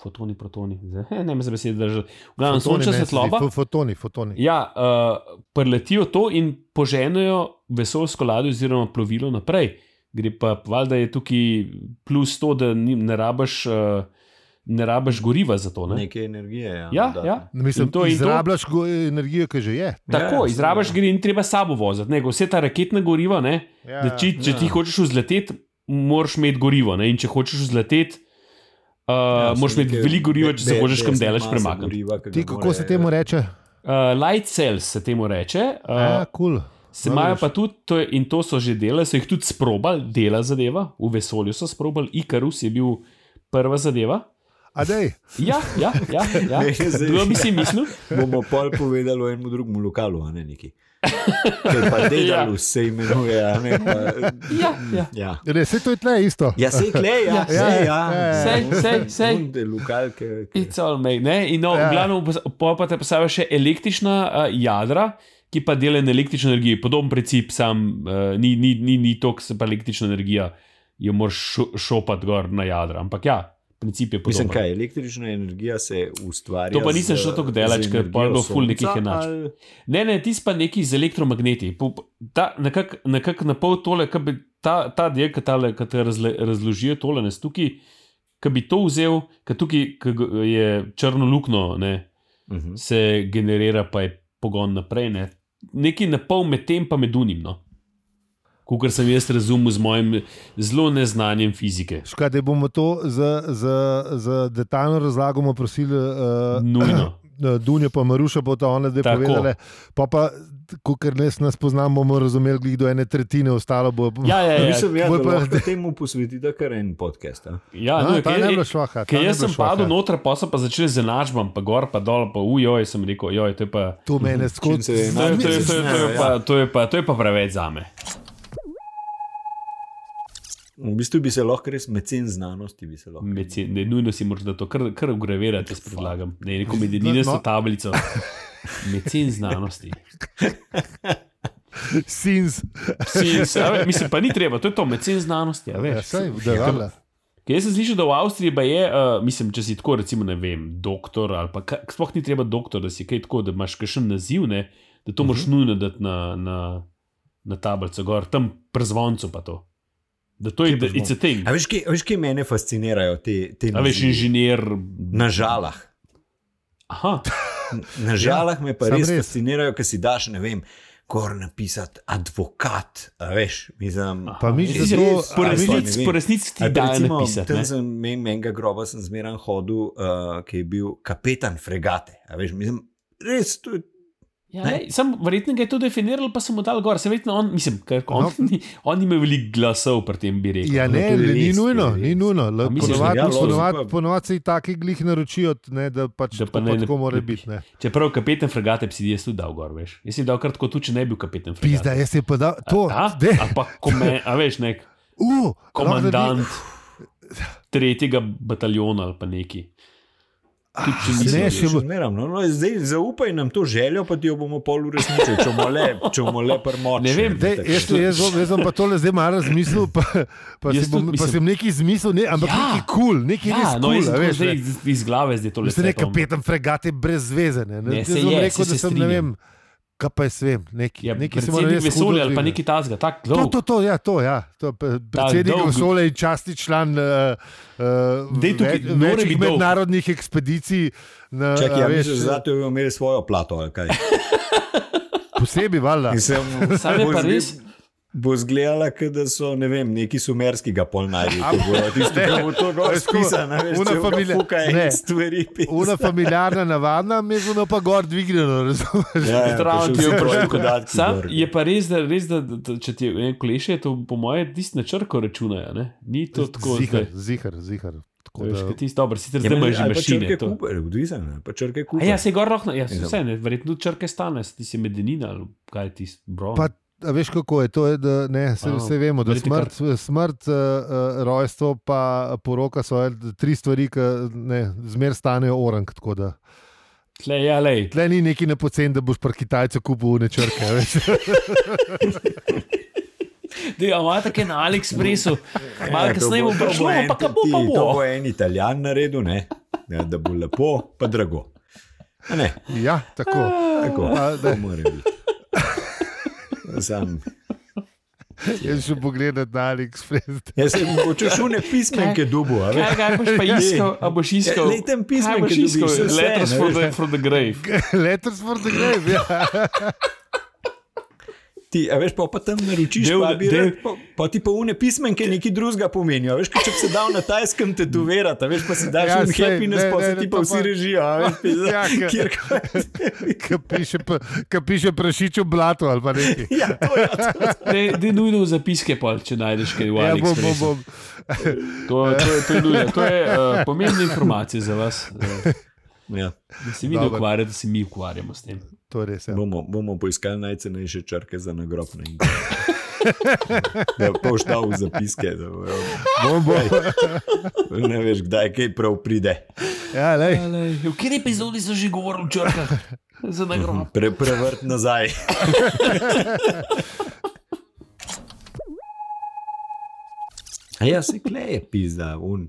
S2: fotoni, protoni, zdaj, ne me za besede držati, v glavnem
S1: Fotoni
S2: sončna
S1: meni se zdi,
S2: svetloba.
S1: fo- Fotoni, fotoni.
S2: Ja, uh, preletijo to in poženejo vesoljsko ladjo oziroma plovilo naprej. Gre pa, valjda je tukaj plus to, da ni, ne rabiš. Uh, Ne rabiš goriva za to. Ne?
S3: Neke energije. Ja,
S2: Ja,
S3: dodatne.
S2: ja.
S1: Mislim,
S2: In to-
S1: da
S2: in to-
S1: izrabljaš go- energijo, ki že je.
S2: Tako,
S3: Ja,
S2: ja, izrabiš
S3: seveda.
S2: gre in treba sabo voziti. Ne, ko vse ta raketna goriva, ne,
S1: Ja,
S2: da če, če
S3: ja.
S2: ti hočeš vzleteti, moraš imeti gorivo. Ne, in če hočeš vzleteti, uh, ja, moraš imeti veliko goriva, če se hočeš kam delaš premakniti.
S1: Ti, kako se temu reče?
S2: Uh, light cells se temu reče. Uh,
S1: Ja, kul.
S2: Se
S1: No,
S2: imajo
S1: vidiš.
S2: pa tudi, to je, in to so že delali, so jih tudi sprobali, dela zadeva, v vesolju so sprobali, Ikarus je bil prva zadeva.
S1: A dej,
S2: Ja, ja, ja. ja.
S3: Ne, zdaj-
S2: Kdo bi si mislil?
S3: Bomo pol povedali o enem drugem lokalu, a ne neki. Ker pa dedal ja. se imenuje, a ne pa.
S2: Ja, ja.
S3: Ja.
S1: ne, se to je tle isto.
S3: Ja, se klej, ja,
S2: Ja.
S3: sej, ja,
S1: Ja, ja,
S2: ja. Sej, sej, sej.
S3: Munde, lokal, ki, ki.
S2: It's all made, ne? In no,
S1: Ja.
S2: ja. glavno, pa te postavijo še električna uh, jadra, ki pa delajo na električno energijo. Podoben princip, sam uh, ni, ni, ni, ni to, kar se pa električna energija, jo moraš šo, šopati gor na jadra. Ampak ja, princip je podoben.
S3: Mislim, kaj električna energija se ustvari.
S2: To pa nisem šel tako daleč, ker pol bo ful nekih enačb. Ne, ne, ti si pa nekaj z elektromagneti. Po- ta- Nekako nekak na pol tole, ki bi ta, ta del, ki tale, ki te razle, razložijo tole, ne tukaj, ki bi to vzel, ker tukaj ke g- je črno luknjo, ne,
S3: Uh
S2: Mhm.
S3: -huh.
S2: se generira, pa je pogon naprej. Ne. Nekaj na pol med tem, pa med unim. No. Kukor sem jaz razumel z mojim zelo neznanjem fizike.
S1: Škoda, da bomo to za, za, za detaljno razlago bomo prosili uh,
S2: Nujno.
S1: Dunjo, pa Maruša, bo ta ona zdaj
S2: Tako.
S1: povedala. Pa, pa ker res nas poznamo, bomo razumeli, glih do ene tretjine, ostalo bo.
S2: Ja, ja, ja.
S3: Mislim, ja, da
S1: bolj pa-
S3: lahko temu posvetite kar en podcast. A?
S2: ja,
S1: no,
S2: no,
S1: ta
S2: kaj-
S1: ne bi šla. ha, ta
S2: Ker
S1: ne
S2: jaz
S1: bi
S2: sem
S1: šla,
S2: padel
S1: ha.
S2: noter, pa so pa začeli z enačbam, pa gor, pa dol, pa ujoj, sem rekel, joj, to je pa.
S1: To mene skozi.
S3: se je
S2: To je, to, je, to, je, to, je
S3: Ja.
S2: pa, to, je pa, to je pa preveč za me.
S3: V bistvu bi se lahko res mecen znanosti. bi se lahko.
S2: Meci- Ne, nujno si moraš, da to kar, kar ugravirate, jaz predlagam. Ne, neko medinino
S1: No.
S2: tablico. Medicin znanosti.
S1: Sins.
S2: Psi, se- a ve, mislim, pa ni treba, to je to, medicin znanosti. a veš.
S1: Ja, saj, da, valjda.
S2: Ker Jaz sem slišal, da v Avstriji pa je, uh, mislim, če si tako, recimo, ne vem, doktor ali pa kaj, sploh ni treba doktor, da si kaj tako, da imaš kakšen naziv, ne, da to
S3: Mhm.
S2: moraš uh -huh. nujno dati na, na, na tablico, gor, tam prezvoncu pa to. Da to je, da
S3: prezvonec?
S2: it's a thing.
S3: A veš, kaj, a veš, kaj mene fascinirajo te, te
S2: A veš,
S3: nazivi?
S2: inženir.
S3: Na žalah.
S2: Aha,
S3: Na žalah me pa
S1: sam
S3: res
S1: res.
S3: fascinirajo, ker si daš, ne vem, gor napisati advokat. A veš, mislim.
S2: aha.
S1: Pa mi
S2: Mislim,
S1: zato-
S2: po
S1: ali pa
S2: resnici-
S3: ne vem.
S2: Po resnici ti
S3: Ali pa
S2: da
S3: recimo,
S2: napisati.
S3: Tam
S2: ne.
S3: sem men, menga groba sem zmeraj hodil, uh, ki je bil kapetan fregate. A Veš, mislim, res, to je
S2: Ja,
S3: Ne?
S2: lej, Sam verjetno ga je to definiral, pa sem mu dal gor. Se verjetno on, mislim, ker on,
S1: No.
S2: no. on ima veliko glasov pri tem, bi rekel.
S1: Ja,
S3: no, to
S1: ne,
S3: je
S1: le, ni
S3: res,
S1: nujno,
S3: to je
S1: ni
S3: res.
S1: nujno.
S2: ja, A misliš, da
S1: Ponovadi
S2: ja, lozim
S1: ponovad,
S3: pa-
S1: ponovad se jih taki glih naročijo, ne, da pač
S2: Da
S1: da
S2: pa
S1: pa
S2: ne-
S1: ne, tako mora
S2: ne-
S1: biti. ne.
S2: Čeprav kapetan fregate bi si jaz tudi dal gor, veš. Jaz si dal kar tako, tudi če ne bi bil kapetan fregate.
S1: Pizda, jaz se pa da to. de.
S2: Ampak, kome- a veš, nek
S1: Uh, lahko
S2: komandant
S1: naredi-
S2: tretjega bataljona ali pa neki. Tudi če
S1: Ah, ne,
S2: nisi.
S1: še bo-
S3: zmeram. No, no, zdaj zaupaj nam to željo, pa ti jo bomo pol uresničili, če bomo le, če bomo le prmočili.
S2: Ne vem,
S1: Dej, jaz, se- jaz, bom, jaz bom pa tole zdaj malo razmislil, pa, pa,
S2: Jaz
S1: si bom,
S2: tudi
S1: pa
S2: mislim-
S1: sem nekaj izmislil, ne, ampak
S2: Ja.
S1: ja. nekaj kul, cool, nekaj ja, res
S2: Ja, no,
S1: kul.
S2: jaz
S1: Cool,
S2: sem
S1: no,
S2: zdaj iz, iz glave zdaj tole.
S1: Mislim, da je
S2: cepam.
S1: kapetan fregate brez veze. Ne,
S2: Ne,
S1: jaz
S2: se
S1: bom
S2: je,
S1: rekel,
S2: se-
S1: da
S2: se
S1: sem ne
S2: strinjam.
S1: vem, kaj pa je svem, neki,
S2: Ja,
S1: neki se mora
S2: predsednik
S1: res hudo
S2: vesolja ali pa
S1: dvigati.
S2: neki tazga, tako
S1: To,
S2: dolgo.
S1: to, to, ja, to, ja. to p- predsednik
S2: dolg-
S1: Vesolja in časti član uh, uh,
S2: Dej tukaj,
S1: več,
S2: mora
S1: večjih
S2: biti dolg.
S1: mednarodnih ekspedicij. Na, a
S3: Čakaj, ja,
S1: veš,
S3: misliš, zato bi imeli svojo plato ali kaj.
S1: Posebej, valjda.
S3: In sem,
S2: Sam je
S3: bo
S2: pa
S3: zgled-
S2: res.
S3: Bo izgledala, kot da so ne vem, neki sumerskega polnarja, ki bodo tisti, ki bodo to
S1: Ne, tako,
S3: razpisali.
S1: una familia- ne.
S3: Nekaj stvari. pisa.
S1: Una familiarna navadna, mi smo pa gor dvignjeno, razumete?
S3: Ja, ja,
S2: Zraven
S3: pa
S2: ti
S3: še
S2: je
S3: vsi tvoji
S2: vprašal.
S3: podatki
S2: Sam
S3: gor. ja.
S2: je pa res, da, res, da, da če ti je en kleše, to po mojem tisti na črko računajo. Ne? Ni to tako
S1: zihar,
S2: zdaj.
S1: zihar, zihar. Tako
S2: Veš,
S1: da-
S2: kaj Tisti dobro, sicer
S3: Ja,
S2: zdaj imaš
S3: meni-
S2: že
S3: ali pa
S2: mašine.
S3: Črke
S2: to.
S3: Cooper, odvisen, ali pa črke
S2: A
S3: kupe.
S2: ja, se gor lahko, ja, saj
S3: Mislim.
S2: vse ne, verjetno tudi črke stane, ti si medenina ali kaj ti bron.
S1: Pa A veš, kako je to, je, da ne, se,
S2: A,
S1: se vemo, da
S2: verite
S1: smrt, smrt uh, uh, rojstvo pa poroka so eh, tri stvari, ki ne, zmer stanejo orang. tako da.
S2: Tle, ja, lej.
S1: Tle ni neki nepocen, da boš pri Kitajcu kupil nečrke. veš.
S2: Dej, a imate kaj na AliExpressu,
S3: Ja,
S2: malo kasneje bo prišlo, pa kaj bo, pa
S3: To
S2: bo.
S3: bo en italijan naredil, ne? Ja, da bo lepo, pa drago. A Ne,
S1: Ja, tako.
S3: tako,
S1: A,
S3: to
S1: ne,
S3: mora biti. Sam.
S1: jaz še pogledam na AliExpress.
S3: Jaz sem mogoče šel ne pismenke dubu, a
S2: Kaj,
S3: veš?
S2: kaj boš pa iskal, a boš iskal?
S3: Ja, lej, tam
S2: Kaj
S3: pismenke
S2: boš
S3: dobiš,
S2: iskal?
S3: saj vse,
S2: Letters
S3: ne
S2: for
S3: veš.
S2: the, for the grave.
S1: Letters for the grave. Ja.
S3: Ti, a veš, pa, pa tam naročiš,
S2: Del-
S3: pa, bi
S2: del-
S3: rad, pa, pa ti pa une pismenke nekaj drugega pomenijo. a Veš, kot če bi se dal na tajskem tetovirati, a veš, pa si daš
S1: Ja,
S3: ja, un
S1: sej,
S3: happiness,
S1: ne,
S3: pa
S1: ne,
S3: se
S1: ne,
S3: ti
S1: to
S3: pa
S1: pa-
S3: vsi režijo, a veš, pizda,
S1: Ja, ke-
S3: kjerkoli.
S1: Ki piše, p- ke piše prašič v blatu ali pa nekaj.
S3: Ja, to je to.
S2: Dej, dej nujno v zapiske, pol, če najdeš kaj v
S1: Ja, bom, bom,
S2: AliExpressu.
S1: bom.
S2: To, to, je- to je, nujno. to je uh, pomembna informacija za vas, uh,
S3: Ja,
S2: da se vi ne
S1: Dobro.
S2: ukvarjate, da se mi ukvarjamo s tem.
S1: To je res. Ja.
S3: bomo, bomo poiskali najcenejše črke za nagrop na internetu. Ja, pa boš dal v zapiske, da bo,
S1: Bom, bom.
S3: ne veš, kdaj kaj prav pride.
S1: Ja, lej.
S2: Alej, v kateri epizodi so že govorili o črkah? Za nagrado.
S3: Pre, prevrt nazaj. A ja, se kleje, pizda, un.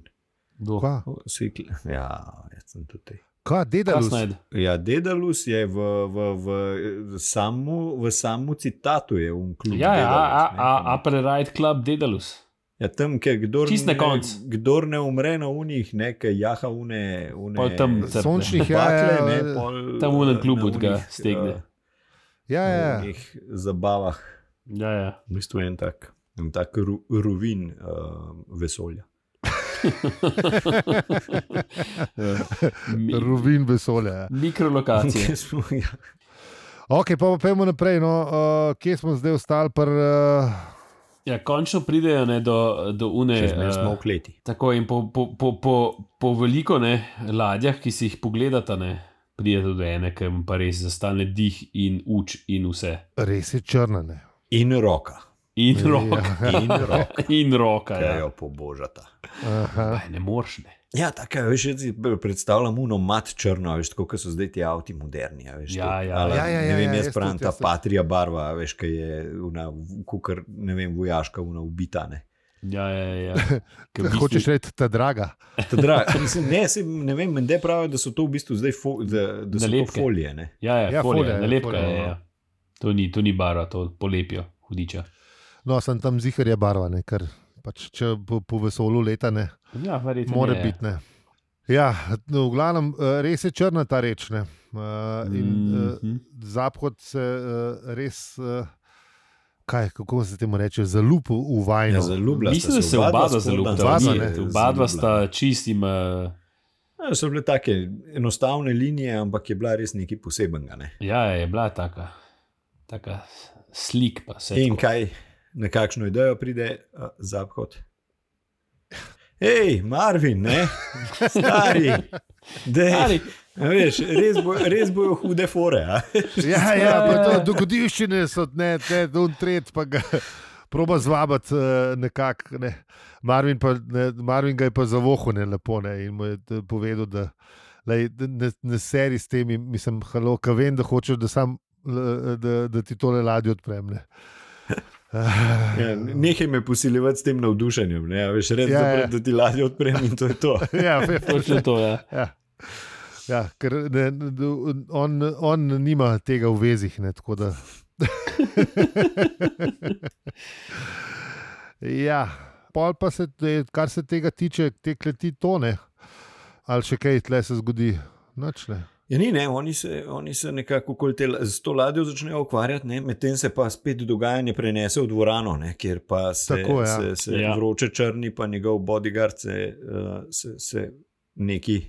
S2: Kdo?
S1: Kva?
S3: O, saj kle- Ja, jaz sem tudi.
S1: Kva, dedalus?
S2: Kasneje.
S3: Ja, Dedalus je v, v, v, eh, samu, v samu citatu, je un klub.
S2: Ja, ja,
S3: Dedalus,
S2: a,
S3: ne,
S2: a,
S3: tam.
S2: a prerajt klub Dedalus.
S3: Ja, tam, kjer kdor,
S2: Čisto na
S3: ne,
S2: koncu.
S3: kdor ne umre na unih, nekaj jaha une,
S2: Pol
S3: une
S2: tam crkne.
S1: Sončnih, ja,
S3: bakle,
S1: ja,
S3: ne,
S1: ja.
S3: pol,
S2: Tam v enem
S3: eh,
S2: klubu
S3: na
S2: ga
S3: onih,
S2: stegne.
S3: eh,
S1: Ja, ja.
S3: Na unih zabavah,
S2: Ja, ja.
S3: v bistvu en tak, en tak ru, rovin uh, vesolja.
S2: Mi,
S1: Rovin vesolja. ja.
S2: mikrolokacije.
S3: Kje smo, ja.
S1: Ok, pa pa pojmo naprej. No, uh, kje smo zdaj ostali? Pr, uh,
S2: Ja, končno pridejo ne, do, do une.
S3: Če zmeraj smo
S2: eh,
S3: v kleti.
S2: Tako in po, po, po, po, po veliko ne, ladjah, ki si jih pogledata, ne, pride do ene, ki jim pa res zastane dih in uč in vse.
S1: res je črnane.
S3: In roka,
S2: In roka.
S3: in roka,
S2: In roka.
S3: ki
S2: Ja.
S3: jo pobožata.
S2: Aj, ne moreš. Ne.
S3: Ja, tako je, veš, jaz si predstavljam uno mat črno, a veš, tako kot so zdaj ti avti moderni. a Veš,
S2: Ja,
S3: to-
S2: ja.
S3: ali,
S1: Ja, ja, ja,
S3: ne
S1: ja,
S3: vem, jaz
S1: jaz
S3: pravim
S1: tudi,
S3: ta
S1: jaz tudi.
S3: patrija barva, a veš, ki je una, kukar, ne vem, vojaška, una ubitane.
S2: Ja, ja, ja. Ke v
S1: Bistvu...
S2: bistvu-
S1: Hočeš reči, ta draga.
S3: Dra, mislim, ne, se, ne vem, mende pravijo, da so to v bistvu zdaj fo, da, da so to
S2: Nalepke.
S3: folije. Ne?
S2: Ja, ja,
S1: Ja,
S2: ja folija,
S1: folija,
S2: folija,
S1: ja,
S2: nalepka
S1: folija,
S2: je.
S1: ja.
S2: Ja. To ni, to ni barva, to polepijo, hudiča.
S1: No, sem tam ziharja barvane, ker pač, če po, po vesolju leta ne,
S2: Ja, verjetno.
S1: more
S2: je.
S1: biti ne. Ja, no, v glavnem, eh, res je črna ta reč. Ne. Uh, in mm.
S2: Mhm.
S1: Zahod se uh, res, uh, kaj, kako se temu reče, zalup v vajno.
S3: Ja, zaljubila
S2: no, Mislim,
S3: sta
S2: da se oba
S3: spodaj
S2: zelo
S3: sta
S1: Obadva,
S2: dobro
S1: ne.
S3: se
S2: Oba
S3: zaljubila.
S2: sta čistim. eh,
S3: Ja, so bile tako enostavne linije, ampak je bila res nekaj posebnega. Ne?
S2: Ja, je bila taka, taka slik, pa se
S3: In kaj, na kakšno idejo pride uh, Zapad? Hej, Marvin, ne? stari, dej,
S2: Ali,
S3: A veš, res, bo, res bojo hude fore. a?
S1: Ja, ja, pa to dogodivščine so, ne, ne, don tret, pa ga proba zvabati eh, nekako. Ne. Marvin, pa, ne, Marvin ga je pa zavohal, ne lepo, ne, in mu je eh, povedal, da lej, da ne, ne seri s tem, in mislim, halo, ka vem, da hočeš, da, sam, eh, da, da ti tole ladje odprem. Ne.
S3: Ja, Nehaj me posiljevati s tem navdušenjem, ne? a veš, res
S1: Ah. Ja,
S3: ja,
S1: ja.
S3: dobro, da ti ladje odprem in to je to.
S1: Ja, fe-
S2: točno to je. Ja.
S1: ja. Ja, ker ne, ne, on, on nima tega v vezih. Ne, tako da- ja, pol pa se, te- kar se tega tiče, te kleti tone. Ali še kaj tle se zgodi, noč ne.
S3: Ja, ni, ne, oni se, oni se nekako okoli te, la- s to ladjo začnejo ukvarjati, ne, medtem se pa spet dogajanje prenese v dvorano, ne, kjer pa se,
S1: Tako, ja.
S3: se, se
S2: Ja.
S3: ja. vroče črni, pa njegov bodyguard se, uh, se, se neki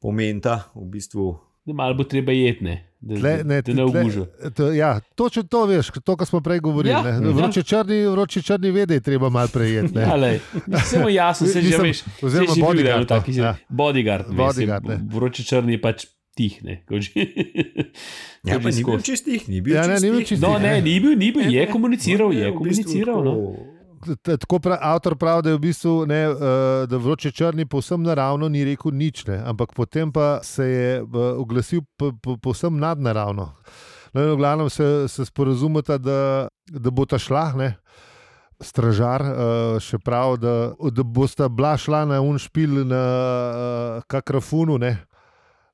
S3: pomenta, v bistvu.
S2: Da malo bo treba jetne, da,
S1: Tle, ne,
S2: da, da ne obuža.
S1: to- Ja, točno to veš, to, kar smo prej govorili.
S2: Ja,
S1: Ja, vroče, črni, vroče črni vede je treba malo prejeti. ne.
S2: Ja, lej. Samo jasno, se že
S1: Mislim,
S2: veš.
S1: oziroma
S2: se že bil
S1: bodyguard,
S2: eden
S1: no,
S2: takih,
S1: ja.
S2: bodyguard, bodyguard
S1: Bodyguard, ne.
S2: vroče črni pač tih. Ne, kot že,
S3: Ja,
S2: kot
S3: pa
S2: že
S3: ni bil
S2: skozi.
S3: čistih, ni bil
S1: Ja, ne, ni bil
S3: čistih.
S1: čist
S2: No, ne, ni bil, ni bil, je komuniciral, je
S3: v bistvu
S2: komuniciral. No.
S3: tako-
S1: T- t- Tako pra, avtor pravi, da je v bistvu ne, eh, da vroče črni povsem naravno ni rekel nič, ne, ampak potem pa se je eh, oglasil po- po- povsem nadnaravno. No, in v glavnem se, se sporozumeta, da, da bo ta šla. Ne. Stražar eh, še pravi, da, da bosta bila šla na unšpil na eh, kakrafunu, ne,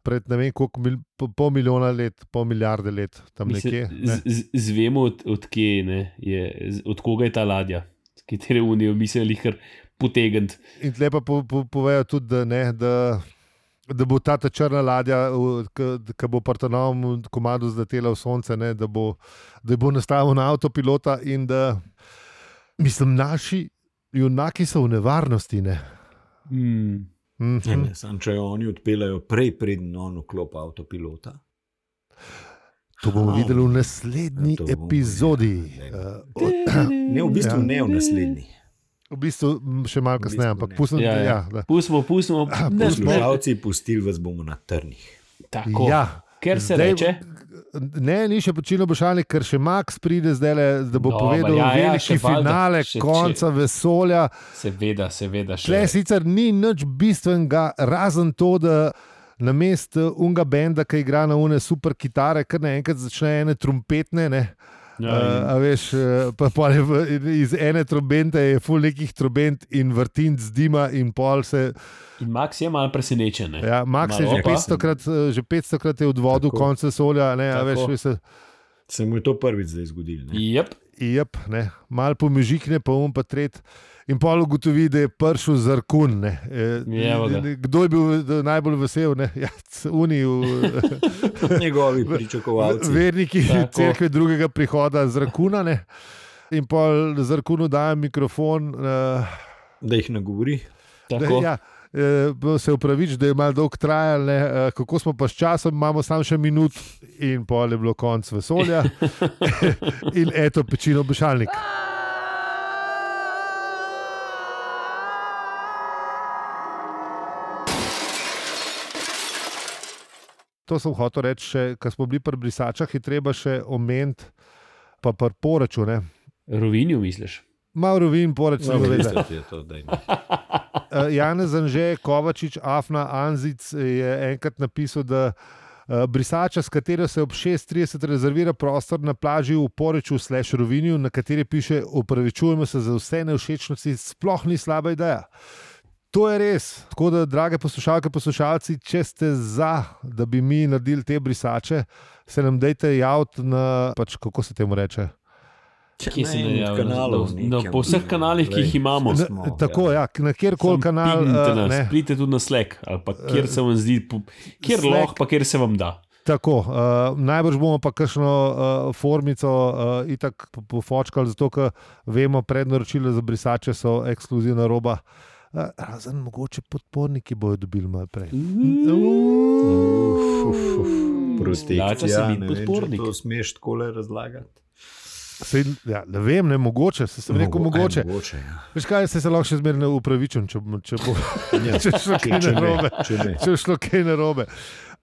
S1: pred ne vem koliko, mil, po- pol milijona let, pol milijarde let, tam nekje.
S2: Mislim,
S1: Ne.
S2: z- z- Zvemo, od, od, kje, ne, je, z- od koga je ta ladja, s katere unijo mislili, kar potegant.
S1: In tle pa po, po, povejo tudi, da, ne, da, da bo ta, ta črna ladja, ki bo Partanom komadu zletela v sonce, ne, da, bo, da bo nastavil na avtopilota in da, mislim, naši junaki so v nevarnosti. Ne.
S2: Hmm.
S3: Ja,
S1: Mhm.
S3: ne, Samo če jo oni odpeljajo prej, preden on vklopi avtopilota.
S1: To bomo
S3: Ha.
S1: videli v naslednji
S3: Ja, To bomo
S1: epizodi.
S3: videli, ja,
S1: Eh, o-
S3: Ne, v bistvu
S1: Ja.
S3: ja. ne v naslednji.
S1: V bistvu m, še malo
S3: V
S1: kasneje,
S3: bistvu
S1: ampak
S3: ne.
S1: pustim,
S2: Ja,
S1: da.
S2: ja.
S1: Ja, da.
S2: Pustimo, pustimo.
S1: Ah,
S2: Ne,
S1: pustimo.
S2: ne,
S3: Poslušalci, pustili vas bomo na trnih.
S2: Tako, ja,
S1: Ja.
S2: ker se
S1: Zdaj-
S2: Zdaj, reče,
S1: Ne, ni še počilo bošalnik, ker še Max pride zdaj, da bo
S2: Dobro,
S1: povedal
S2: ja, ja,
S1: veliki
S2: še valjda,
S1: finale,
S2: še-
S1: konca vesolja.
S2: seveda, seveda. še-
S1: Tle sicer ni nič bistvenega, razen to, da na mestu unga benda, ki igra na une super kitare, kar naenkrat začne ene trumpetne. Ne?
S2: Ja,
S1: Uh, a veš, eh, pa pol je v- iz ene trobente je full nekih trobent in vrtin z dima, in pol se.
S2: in Max je malo presenečen. ne.
S1: Ja, Max je
S2: Malo
S1: že
S2: pa.
S1: 500 krat, eh, že 500 krat je odvodil
S3: Tako.
S1: konce solja, ne, a
S2: Tako.
S1: veš, veš, se-
S3: Se mu je to prvič zdaj zgodilo. ne?
S2: Jep,
S1: jep, ne, mal pomežikne, pa um pa tret. In pol ugotovi, da je prišel Zarkun. ne. E,
S2: Evo ga.
S1: Kdo je bil eh, najbolj vesel? Ne? Ja, Uni,
S3: Njegovi pričakovalci.
S1: verniki
S2: Tako.
S1: cerkve drugega prihoda Zarkuna. Ne? In pol Zarkunu dajem mikrofon. Uh,
S3: da jih nagovori.
S2: tako.
S1: ja, eh, bo se upravičujem, da je malo dolgo trajalo, ne, eh, kako smo pa s časom, imamo samo še minut, in pol je bilo konc vesolja. in eto, pečino obešalnik. To sem hotel reči, ker smo bili pri brisačah, je treba še omeniti, pa pri poraču. Ne.
S2: Rovinju misliš.
S1: Malo rovin, porač, ne vem.
S3: je to, da je
S1: Eh, Janez Anže, Kovačič, Afna Anzic eh, je enkrat napisal, da eh, brisača, s katero se ob 6:30 rezervira prostor na plaži v Poreču, slash Rovinju, na kateri piše: Opravičujemo se za vse neušečnosti, sploh ni slaba ideja. To je res. Tako da, drage poslušalke, poslušalci, če ste za, da bi mi naredili te brisače, se nam dajte javiti na, pač, kako se temu reče.
S2: Kje si najavil?
S3: Kanalov,
S2: Na- na- No, po vseh kanalih, ki jih imamo.
S1: Na,
S3: Smo,
S1: tako, ja, na kjerkoli
S2: Samo
S1: kanal.
S2: pignite
S1: eh,
S2: nas,
S1: ne. Eh,
S2: Pridite tudi na slek, ali pa kjer se vam zdi, po- kjer
S1: Slack.
S2: lahko, pa kjer se vam da.
S1: Tako, uh, najbrž bomo pa kakšno uh, formico uh, itak po- pofočkali, zato ker vemo, prednaročila za brisače so ekskluzivna roba. Uh, razen mogoče podporniki bodo dobili malo prej.
S2: Plača
S3: ja,
S2: se biti podpornik.
S3: To smeš tako razlagati.
S1: Sej, ja, ne vem, ne mogoče, se sem Mogo, rekel mogoče.
S3: Aj, mogoče ja.
S1: Veš kaj, se, se lahko še zmeraj ne upravičujem, če, bo- če bo
S3: Ja,
S1: če šlo kaj
S3: če
S1: narobe.
S3: ne, če ne.
S1: Če je šlo kaj narobe.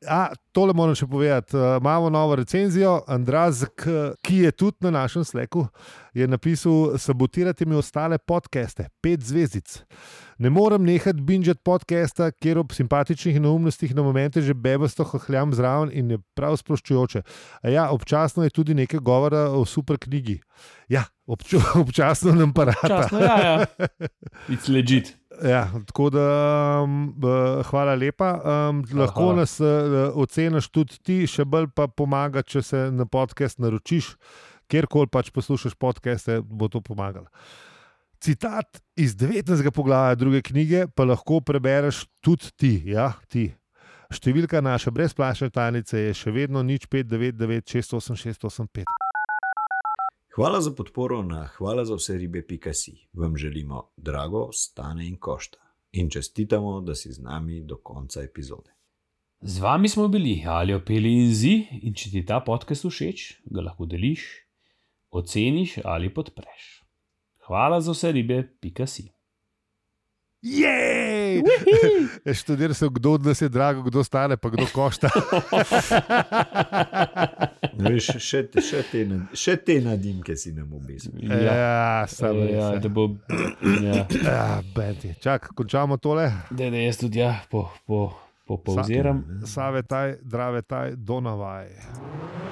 S1: A, tole moram še povedati. Eh, Imamo novo recenzijo. Andrazek, eh, ki je tudi na našem sleku, je napisal: Sabotirati mi ostale podcaste, pet zvezdic. Ne morem nehati binžati podcasta, kjer ob simpatičnih neumnostih na momente že bebasto hahljam zraven in je prav sproščujoče. A ja, občasno je tudi nekaj govora o super knjigi. Ja, obč občasno nam pa rata.
S2: Časno, ja, ja. It's legit.
S1: Ja, tako da, um, eh, hvala lepa. Um, lahko
S2: hvala.
S1: nas uh, oceniš tudi ti, še bolj pa pomaga, če se na podcast naročiš, kjerkoli pač poslušaš podcaste, bo to pomagalo. Citat iz 19. poglavja druge knjige pa lahko prebereš tudi ti. Ja, ti. Številka naše brezplačne tajnice je še vedno nič 599 68685.
S3: Hvala za podporo na hvala za vse ribe.si. Vam želimo drago, stane in košta. In čestitamo, da si z nami do konca epizode.
S2: Z vami smo bili ali opeli in zi, in če ti ta podcast všeč, ga lahko deliš, oceniš ali podpreš. Hvala za vse ribe, pika si.
S1: Jej! jej. Študiral sem, kdo od nas je drago, kdo stane, pa kdo košta.
S3: Veš, še, še, te, na- še te nadimke si nam obisil.
S2: Ja,
S1: ja, samo
S2: ja,
S1: res.
S2: da bo. Ja.
S1: Ja, bendi. Čak, končamo tole.
S2: Da, da jaz tudi ja, po, po, po, povziram.
S1: Save taj, drave taj, donavaj.